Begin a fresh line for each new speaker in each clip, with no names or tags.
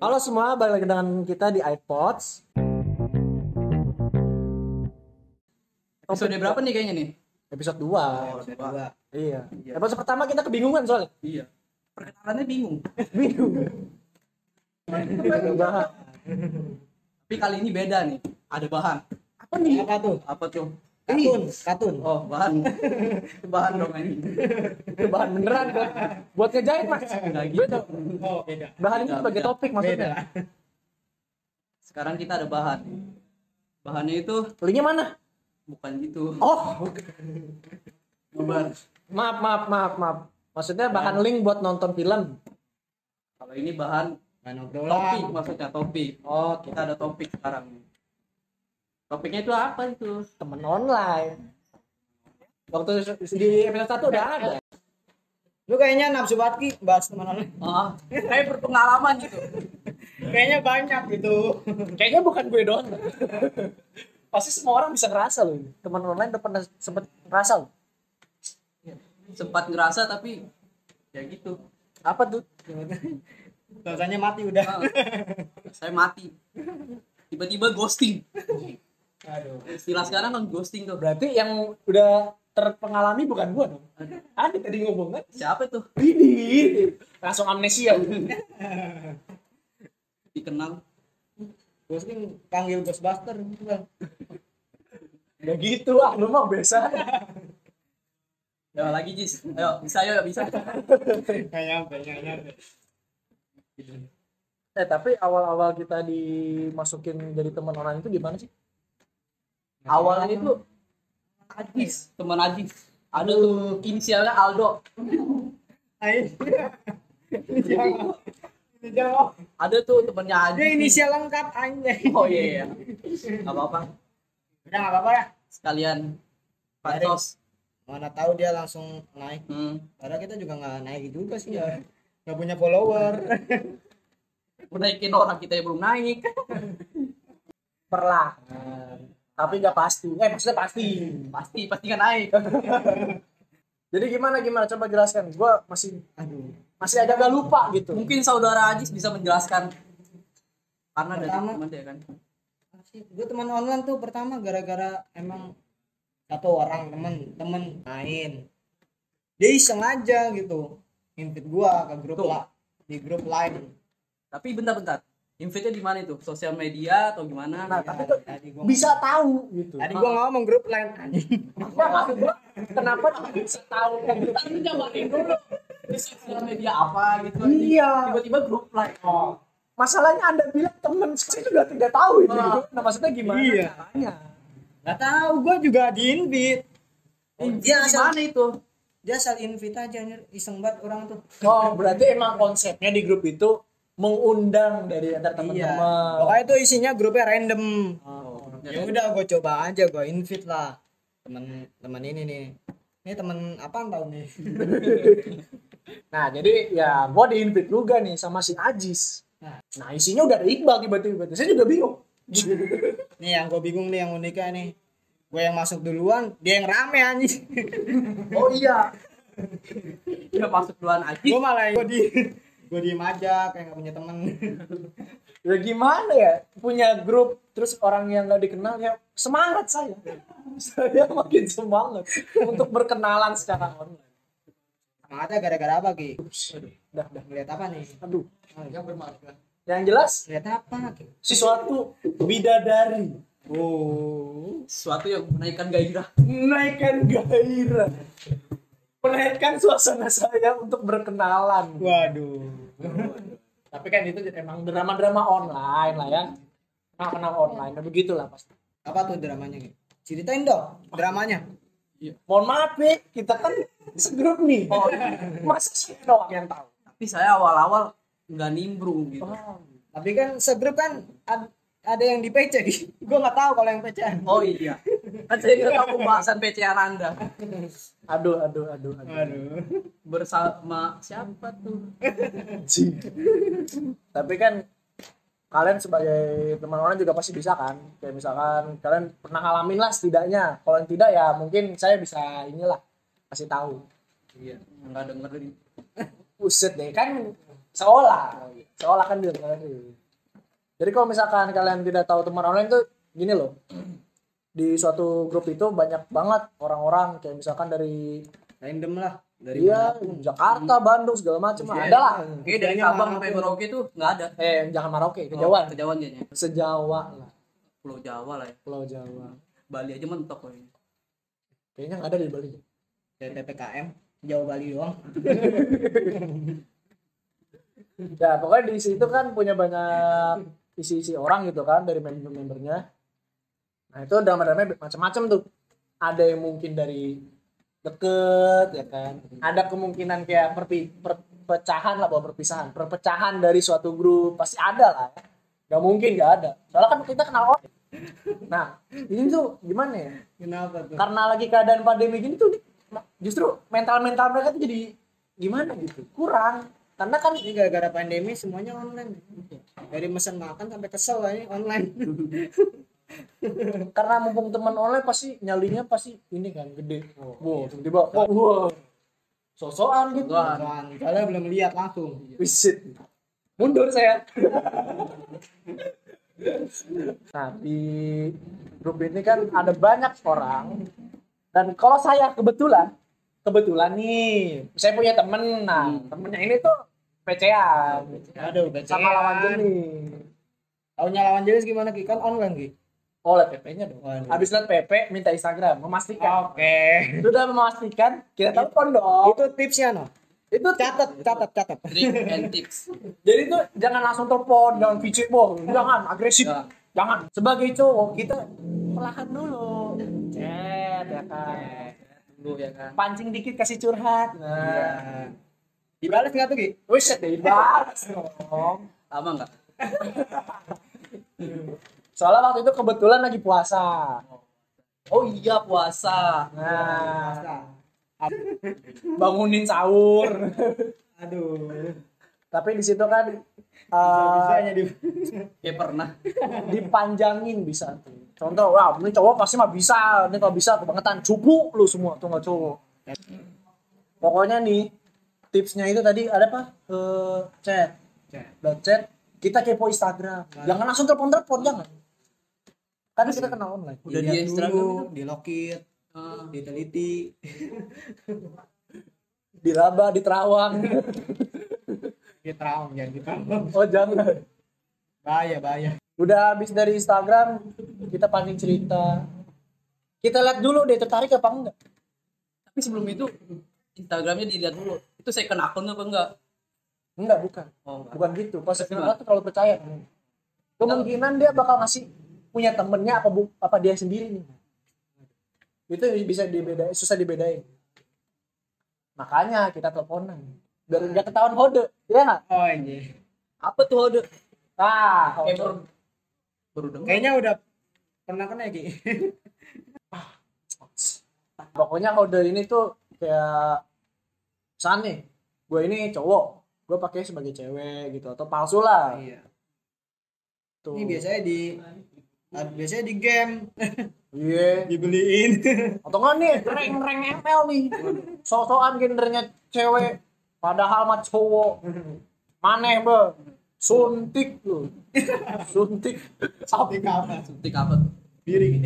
Halo semua, balik lagi dengan kita di iPods.
Episode berapa nih kayaknya nih?
Episode 2.
Episode dua.
Iya. Episode pertama kita kebingungan soalnya.
Iya. Perkenalannya bingung.
Bingung. Bahas.
Tapi kali ini beda nih. Ada bahan.
apa nih apa tuh
Apa tuh?
katun katun
Oh, bahan. bahan dong ini.
Itu bahan beneran kan. Buat ngejahit Mas.
Enggak gitu.
oh beda
Bahan ini sebagai topik maksudnya.
Sekarang kita ada bahan. Bahannya itu
Linknya mana?
bukan gitu.
Oh,
Bubar.
maaf maaf maaf maaf. Maksudnya bahan link buat nonton film.
Kalau ini bahan
Bahan
topik
obrolan
maksudnya topik.
Oh,
Kita ada topik sekarang nih. Topiknya itu apa itu?
temen online. Waktu di episode 1 udah ada.
lu kayaknya nafsu banget Ki, bahas teman lu
Ah, kayak berpengalaman gitu.
kayaknya banyak gitu
Kayaknya bukan gue doang. Pasti semua orang bisa ngerasa loh ini. Teman online udah pernah sempet ngerasa loh.
Sempat ngerasa tapi ya gitu.
Apa tuh?
bahasanya mati udah
Ah, saya mati. Tiba-tiba ghosting.
aduh
Istilah sekarang kan ghosting tuh.
Berarti yang udah terpengalami bukan gua dong.
Aduh.
Ada tadi ngomong kan?
Siapa tuh?
Ini langsung amnesia.
Dikenal.
ghosting panggil ghostbuster gitu kan
Udah gitu ah lu mah biasa.
Ya lagi Jis. Ayo, bisa ayo bisa.
nggak nyampe nggak nyampe
Eh tapi awal-awal kita dimasukin jadi teman online itu gimana sih?
Awalnya itu Ajis, teman Ajis. Ada tuh inisialnya Aldo.
ayo ini jawab
Ada tuh temannya Ajis.
dia inisial lengkap anjay
Oh iya iya. Gak apa-apa.
udah nggak apa-apa ya
Sekalian pantos.
mana tahu dia langsung naik
Hmm.
padahal kita juga nggak naik juga sih ya nggak punya follower
Udah ikin orang kita yang belum naik.
Perlahan. Tapi nggak pasti. Eh maksudnya pasti.
Pasti pasti kan naik.
Jadi gimana gimana coba jelaskan. Gua masih
aduh
masih agak agak lupa gitu.
Mungkin saudara Ajis bisa menjelaskan karena dari
Pertama.
teman dia kan.
gue teman online tuh pertama gara-gara emang satu orang temen temen main dia iseng aja gitu ngintip gua ke grup
Tuh.
lah di grup lain
Tapi bentar-bentar. Invite-nya di mana itu? Sosial media atau gimana? Iya.
Nah, tapi tuh
tadi gua
bisa tahu gitu.
tadi gua ngomong grup lain anjing
Nah, maksud gua, kenapa bisa tahu kan gitu?
Tapi nyamain dulu di sosial media apa gitu
Iya.
tiba-tiba grup like
Oh. Masalahnya Anda bilang temen sekarang juga tidak tahu itu. Nah, maksudnya gimana
Iya.
caranya?
nggak tahu gua juga di invite
iya,
dia
dia asal
mana itu
dia asal invite aja anjir iseng banget orang tuh
Oh, berarti emang konsepnya di grup itu mengundang dari antar
Iya.
teman-teman.
pokoknya tuh isinya grupnya random
Oh.
ya udah gue coba aja gue invite lah temen temen ini nih ini temen apa tau nih
Nah, jadi ya gua di invite juga nih sama si Ajis.
Nah.
Nah, isinya udah ada Iqbal tiba-tiba. Saya juga bingung.
Nih yang gue bingung nih yang uniknya nih. Gue yang masuk duluan, dia yang rame anjing.
oh iya dia masuk duluan aja
gue malah gue di gue diem aja kayak gak punya temen.
Ya gimana ya? Punya grup terus orang yang nggak dikenal ya semangat saya. saya makin semangat untuk berkenalan secara online.
Semangatnya gara-gara apa Ki?
Dah, dah.
Ngeliat apa nih?
Aduh.
Yang bermasalah.
Yang jelas
Ngeliat apa gitu. Ki?
sesuatu bidadari
Oh.
sesuatu yang menaikkan gairah
menaikkan gairah menaikkan suasana saya untuk berkenalan
Waduh.
tapi kan itu emang drama-drama online lah ya kenal-kenal online dan begitulah pasti
Apa tuh dramanya Ki? Ceritain dong dramanya.
mohon maaf ya kita kan segrup nih masa sih doang yang tahu
tapi saya awal-awal nggak nimbrung gitu
Oh.
Tapi kan segrup kan ad- ada yang di PC Ki. Gue nggak tahu kalau yang PC.
oh iya kan saya nggak tahu pembahasan PCR anda
aduh aduh aduh aduh
Aduh.
bersama siapa tuh
Anjing. tapi kan kalian sebagai teman orang juga pasti bisa kan kayak misalkan kalian pernah ngalamin lah setidaknya kalau yang tidak ya mungkin saya bisa inilah kasih tahu
iya nggak dengerin
Buset deh kan seolah seolah kan bilang kalian ini. jadi kalau misalkan kalian tidak tahu teman online tuh gini loh di suatu grup itu banyak banget orang-orang kayak misalkan dari
random lah dari
iya
manapun.
Jakarta Bandung segala macam
Iya.
ada lah
Kayaknya dari
Kayaknya
Sabang
mana
sampai
tuh?
Merauke tuh nggak ada.
eh jangan Maroke kejauhan
Kejauhan kayaknya.
sejawa lah
Pulau Jawa lah ya.
Pulau Jawa
Bali aja mentok kayaknya.
kayaknya nggak ada di Bali
dari PPKM Jawa Bali doang
ya pokoknya di situ kan punya banyak isi-isi orang gitu kan dari member-membernya nah itu drama-drama macam-macam tuh ada yang mungkin dari deket ya kan ada kemungkinan kayak perpi- perpecahan lah bukan perpisahan perpecahan dari suatu grup pasti ada lah ya. nggak mungkin nggak ada soalnya kan kita kenal orang nah ini tuh gimana ya
kenapa tuh
karena lagi keadaan pandemi gini tuh justru mental-mental mereka tuh jadi gimana gitu kurang karena kan
ini gara-gara pandemi semuanya online dari mesen makan sampai kesel ini online
karena mumpung teman online pasti nyalinya pasti ini kan gede wow tiba-tiba wow, wow. sosokan gitu
Wah.
Kan, kalian belum lihat langsung
Wisit. mundur saya nah di grup ini kan ada banyak orang dan kalau saya kebetulan kebetulan nih saya punya temen nah temennya ini tuh PCA
aduh BCA
sama lawan jenis
taunya lawan jenis gimana Ki kan online Ki Iya
oh liat Oh, PP-nya dong
Waduh.
habis liat PP minta Instagram memastikan
oke
sudah memastikan kita telepon dong
itu tipsnya no
itu
catat catat catat
Trick and tips.
jadi itu jangan langsung telepon jangan kicik boh jangan agresif
Ya.
jangan sebagai cowok kita perlahan dulu chat ya kan
Dulu ya kan.
pancing dikit kasih curhat nah
Nah. dibalas nggak tuh Ki
wis deh balas dong
Lama nggak?
soalnya waktu itu kebetulan lagi puasa
Oh iya puasa.
nah
Masa?
bangunin sahur
aduh
tapi di situ kan
bisa
eh,
hanya di
Kayak pernah.
dipanjangin bisa tuh. Contoh, wah ini cowok pasti mah bisa, ini kalau bisa kebangetan cupu lu semua tuh nggak cowok. Pokoknya nih tipsnya itu tadi ada apa? Eh, chat, udah chat, kita kepo Instagram, jangan langsung telepon telepon jangan. Karena kita kenal online.
Udah di
Dilihat
Instagram
dulu, dilokit
Ah.
diteliti
Di laba, di terawang.
kita traum jangan kita traum.
oh jangan.
bahaya bahaya
Udah habis dari Instagram, kita pancing cerita. Kita lihat dulu dia tertarik apa enggak.
Tapi sebelum itu Instagramnya dilihat dulu. Itu saya kena akun apa enggak?
Enggak, bukan.
Oh, enggak.
bukan gitu pas kenal tuh kalau percaya kemungkinan dia bakal ngasih punya temennya apa bu apa dia sendiri nih itu bisa dibedain susah dibedain makanya kita teleponan biar nggak ketahuan kode ya nggak
oh anjir
Apa tuh Ode?
ah
Kayak
kode.
baru baru dengar.
kayaknya udah pernah kena ya Ki
pokoknya kode ini tuh kayak misalnya nih gue ini cowok gue pakai sebagai cewek gitu atau palsu lah
iya
tuh
ini biasanya di ah, biasanya di game
iya
dibeliin
atau enggak nih rank rank ML nih sosokan gendernya cewek padahal mah cowok maneh be suntik lu suntik
sampai kapan
Suntik apa tuh?
diri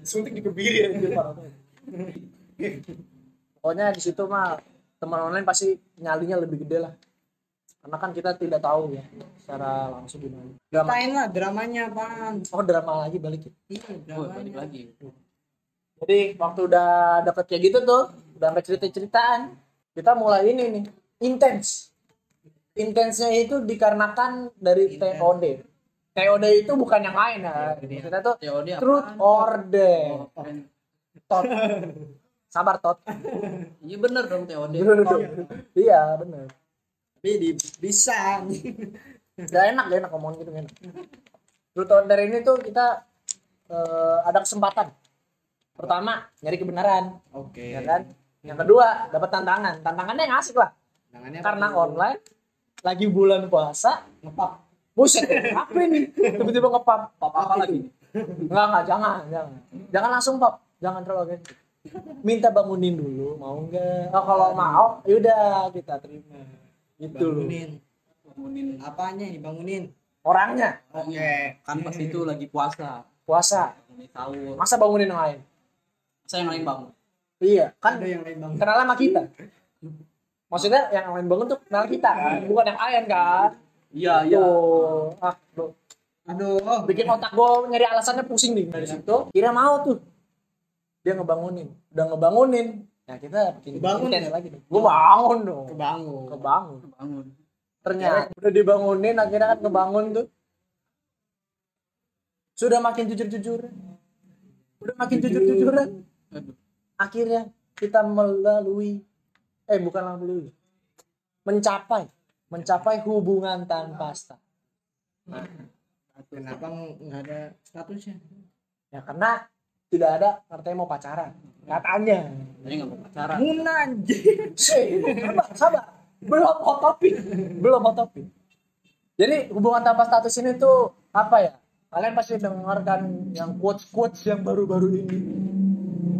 suntik di kebiri ya, gitu. pokoknya di situ mah teman online pasti nyalinya lebih gede lah karena kan kita tidak tahu ya secara langsung gimana drama
Katain lah dramanya apaan
oh drama lagi balik ya.
iya
Oh, balik
dramanya
lagi.
Jadi waktu udah dapet kayak gitu tuh, udah sampai cerita-ceritaan, kita mulai ini nih, intens. Intensnya itu dikarenakan dari
Intens.
TOD. TOD itu bukan yang lain ya.
Iya.
Kita tuh
Teori apa?
truth or dare.
Oh, kan.
Tot. Sabar tot.
Iya bener dong TOD.
iya, bener.
tapi di bisa
Gak enak, gak enak ngomongin gitu gak enak. Truth or dare ini tuh kita eh, ada kesempatan. Pertama, nyari kebenaran,
oke
ya kan? Yang kedua, dapat tantangan. Tantangannya yang asik lah.
tangannya
karena
apa tuh?
online lagi bulan puasa
ngepap
buset apa ini tiba-tiba ngepap
Pop apa lagi?
enggak enggak jangan jangan jangan langsung pap jangan terlalu agresif minta bangunin dulu mau enggak oh kalau mau yaudah ya kita terima itu loh
bangunin
bangunin
apanya yang dibangunin
orangnya
oke
kan pas itu lagi puasa
puasa
ini sahur
masa bangunin yang lain
saya yang lain bangun
iya kan
ada yang lain bangun
kenal sama kita maksudnya yang lain bangun tuh kenal kita kan bukan yang lain kan
iya iya
Tuh. ah lu-
aduh oh,
bikin otak gua nyari alasannya pusing nih dari situ kira mau tuh dia ngebangunin udah ngebangunin ya kita bikin
Bangun
intense
ya?
lagi nih gua bangun dong
kebangun
kebangun
bangun
ternyata udah dibangunin akhirnya kan kebangun tuh sudah makin jujur jujuran udah makin jujur jujuran
Aduh.
akhirnya kita melalui eh bukan melalui mencapai mencapai hubungan tanpa status
kenapa nggak ada statusnya
ya karena tidak ada katanya mau pacaran katanya
saya nggak mau pacaran
Muna anjing.
Shit, sabar sabar belum hot topic belum hot topic jadi hubungan tanpa status ini tuh apa ya kalian pasti dengarkan yang quotes quotes yang baru-baru ini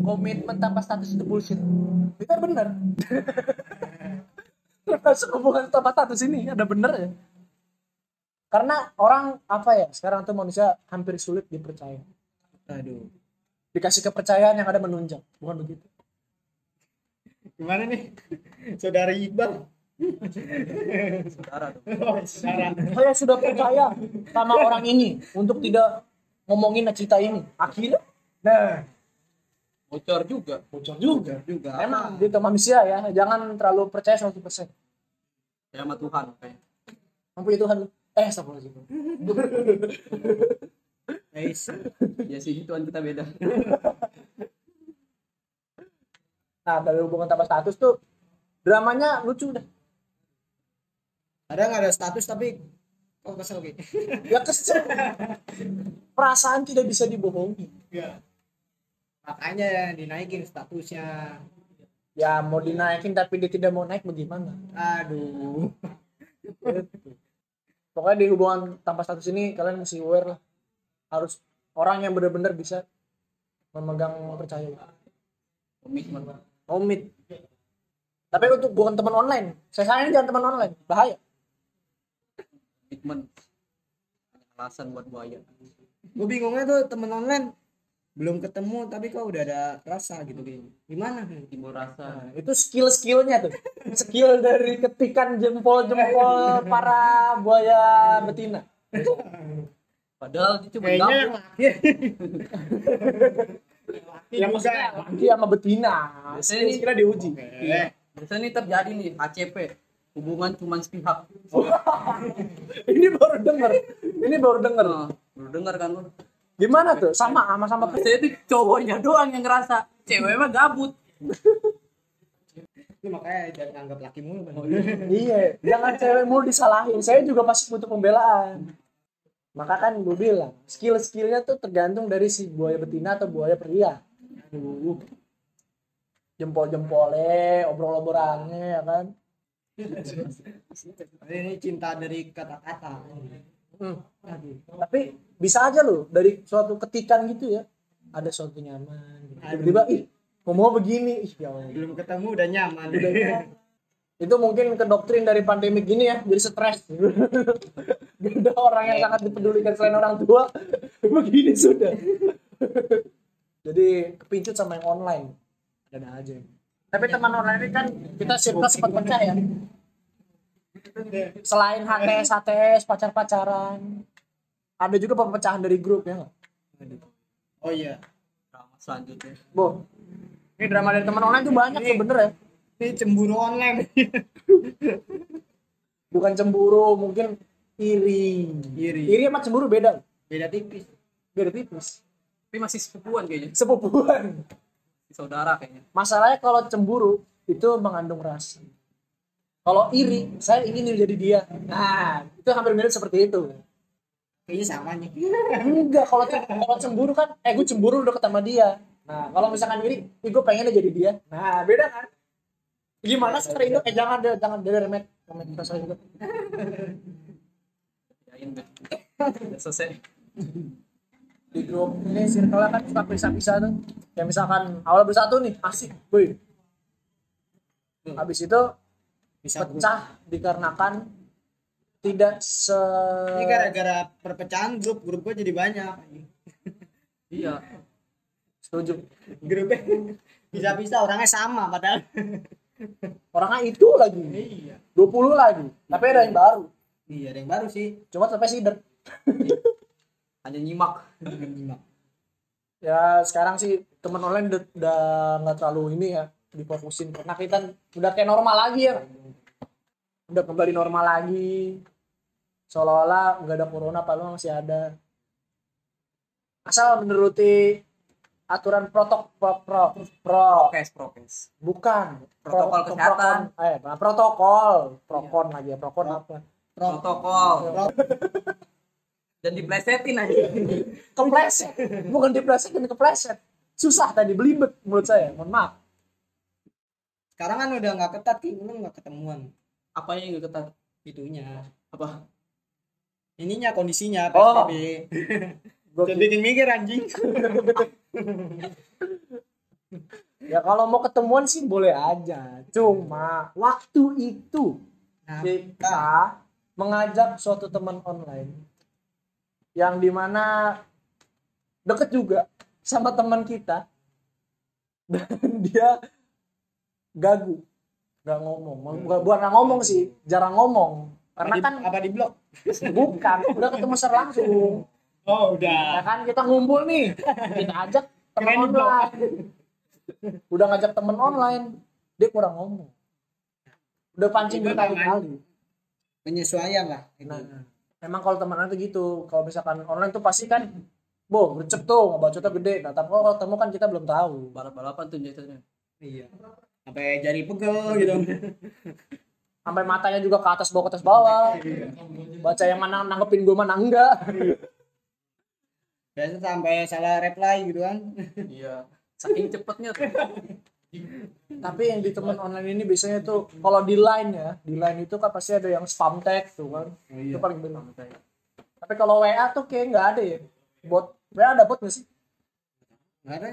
komitmen tanpa status itu bullshit itu bener termasuk hubungan tanpa status ini ada bener ya karena orang apa ya sekarang tuh manusia hampir sulit dipercaya
aduh
dikasih kepercayaan yang ada menunjang bukan begitu
gimana nih saudara Iqbal
saudara dong
Oh, saudara
saya sudah percaya sama orang ini untuk tidak ngomongin cerita ini akhirnya nah
bocor juga
bocor juga
juga
emang gitu manusia ya jangan terlalu percaya 100%
saya Ya, sama Tuhan kayak
mampu Tuhan eh astagfirullahaladzim
guys
ya sih Tuhan kita beda
nah dari hubungan tanpa status tuh dramanya lucu dah
ada nggak ada status tapi oh kesel gitu
ya kesel perasaan tidak bisa dibohongi
makanya ya dinaikin statusnya
ya mau dinaikin tapi dia tidak mau naik bagaimana
aduh
pokoknya di hubungan tanpa status ini kalian mesti aware lah harus orang yang benar-benar bisa memegang percaya
komitmen
komit tapi untuk bukan teman online saya saranin jangan teman online bahaya
komitmen alasan buat buaya
gue bingungnya tuh temen online belum ketemu tapi kok udah ada rasa gitu kayaknya gimana
timbul
Nah,
rasa
itu skill skillnya tuh skill dari ketikan jempol jempol para buaya betina
padahal itu cuma
kayaknya
gabung
yang maksudnya laki sama betina
Biasanya
skill
ini-
skillnya diuji
Oke.
biasanya ini terjadi nih ACP hubungan cuma sepihak
ini baru denger ini baru denger
Nah, lu denger kan lu
gimana tuh sama sama sama
saya itu cowoknya doang yang ngerasa cewek mah gabut
Ini makanya jangan anggap laki mulu Bang.
iya jangan cewek mulu disalahin saya juga masih butuh pembelaan maka kan gue bilang skill skillnya tuh tergantung dari si buaya betina atau buaya pria
aduh
jempol-jempolnya, obrol-obrolannya ya kan.
ini cinta dari kata-kata Hmm.
Aduh. Tapi bisa aja loh dari suatu ketikan gitu ya. Ada suatu nyaman. gitu. Tiba-tiba ih ngomong begini, ih ya Allah.
belum ketemu udah nyaman Iya.
Itu mungkin ke doktrin dari pandemi gini ya, jadi stres. Gak ada orang yang sangat dipedulikan selain orang tua. Begini sudah. jadi kepincut sama yang online. Ada aja. Tapi teman online ini kan kita circle sempat pecah ya. selain HTS HTS pacar pacaran ada juga perpecahan dari grup ya nggak?
oh iya
drama selanjutnya
Bo ini drama dari teman online tuh banyak tuh bener ya
ini cemburu online
bukan cemburu mungkin iri
Iri.
iri sama cemburu beda
Iya, beda tipis
beda tipis
tapi masih sepupuan kayaknya
sepupuan
masih saudara kayaknya
masalahnya kalau cemburu itu mengandung rasa kalau iri saya ingin jadi dia nah itu hampir mirip seperti itu
kayaknya sama nih
enggak kalau cem- kalau cemburu kan eh gue cemburu udah ketemu dia nah kalau misalkan iri ih gue pengennya jadi dia nah beda kan gimana secara itu eh jangan deh, jangan deh, remet remet kita saya juga
Yain, Ben. udah selesai
di grup ini circle kan suka pisah-pisah tuh ya misalkan awal bersatu nih asik boy habis itu
bisa grup
pecah dikarenakan tidak se
ini kan gara-gara perpecahan grup grup gue jadi banyak
iya
setuju
grupnya bisa-bisa orangnya sama padahal
orangnya itu lagi
iya
20 lagi tapi ada yang baru
iya ada yang baru sih
cuma sampai sider
hanya nyimak
ya sekarang sih teman online udah- udah nggak terlalu ini ya difokusin karena kita udah kayak normal lagi ya udah kembali normal lagi seolah-olah nggak ada corona padahal masih ada asal menuruti aturan protok pro, pro, pro
prokes prokes
bukan
Protokol
Pro-
kesehatan. Iya.
prokon. eh apa, protokol prokon lagi ya prokon apa
Pro-
protokol
pro-
dan diplesetin aja
kepleset bukan dipleset tapi kepleset susah tadi belibet menurut saya mohon maaf
sekarang kan udah nggak ketat sih belum nggak ketemuan
apa yang gak ketat
itunya
apa
ininya kondisinya
Oh.
PSBB
Gua
jadi bikin mikir anjing
Ya kalau mau ketemuan sih boleh aja. Cuma waktu itu
nah,
kita mengajak suatu teman online yang dimana deket juga sama teman kita dan dia gagu nggak ngomong bukan bukan nggak ngomong sih jarang ngomong
apa
karena
di-
kan
apa di blok
bukan udah ketemu secara langsung
oh
ya
udah
kan kita ngumpul nih kita ajak teman
Kirain di blok.
online udah ngajak temen online dia kurang ngomong udah pancing
Itu
berkali-kali
penyesuaian lah gitu. itu.
nah emang kalau temen online tuh gitu kalau misalkan online tuh pasti kan bo gercep tuh ngebacotnya gede nah tapi kalau ketemu kan kita belum tahu
balap balapan tuh jatuhnya
iya sampai jari pegel gitu
sampai matanya juga ke atas bawah ke atas bawah
Iya.
baca yang mana nanggepin gue mana enggak
biasa sampai salah reply gitu kan
iya saking cepetnya tuh
tapi yang di temen online ini biasanya tuh kalau di line ya di line itu kan pasti ada yang spam tag tuh kan itu paling benar Tapi kalau WA tuh kayak nggak ada ya. Bot WA ada bot nggak sih?
nggak ada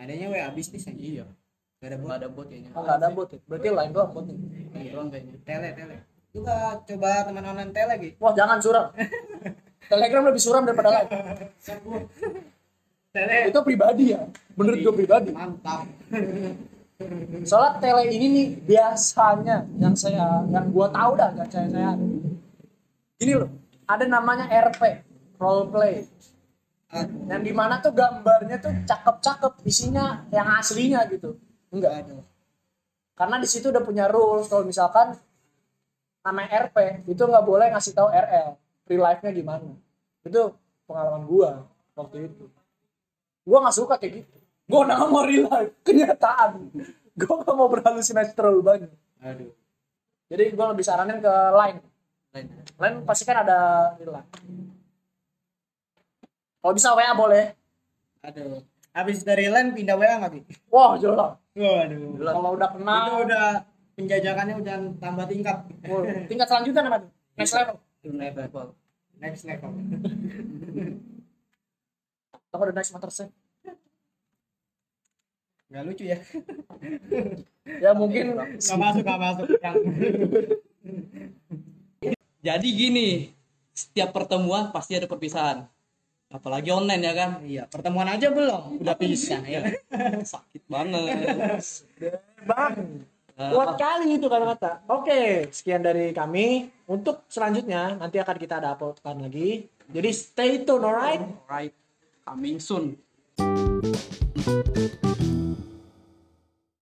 adanya wa bisnis aja
iya
nggak ada
nggak
buat
ada bot kayaknya
Oh, nggak ada bot ya. Berarti lain doang botnya.
Ini doang kayaknya
tele tele juga coba teman online tele gitu
Wah jangan suram. Telegram lebih suram daripada lain.
tele
Itu pribadi ya. Menurut gue pribadi.
mantap
Soalnya tele ini nih biasanya yang saya yang gua tahu dah gak saya saya. Ini loh ada namanya RP role play
aduh
yang dimana tuh gambarnya tuh cakep-cakep isinya yang aslinya gitu enggak
aduh
karena di situ udah punya rules kalau misalkan namanya RP itu nggak boleh ngasih tahu RL real life-nya gimana itu pengalaman gua waktu itu gua nggak suka kayak gitu gua nggak mau real life kenyataan gua nggak mau berhalusinasi terlalu banyak
aduh
jadi gua lebih saranin ke line
lain
line pasti kan ada real life kalau bisa WA boleh
aduh habis dari LAN pindah WA nggak sih
wah jelas
waduh
kalau udah kenal
itu udah penjajakannya udah tambah tingkat
wah, tingkat selanjutnya namanya next level
level
next level
Toko the next matter set.
nggak lucu ya
ya mungkin
nggak masuk nggak masuk yang
jadi gini setiap pertemuan pasti ada perpisahan apalagi online ya kan
iya pertemuan aja belum udah pisah ya
sakit banget
bang
Nah,
Kuat kali itu kata-kata. Oke, sekian dari kami. Untuk selanjutnya nanti akan kita ada uploadkan lagi. Jadi stay tune, alright?
alright coming soon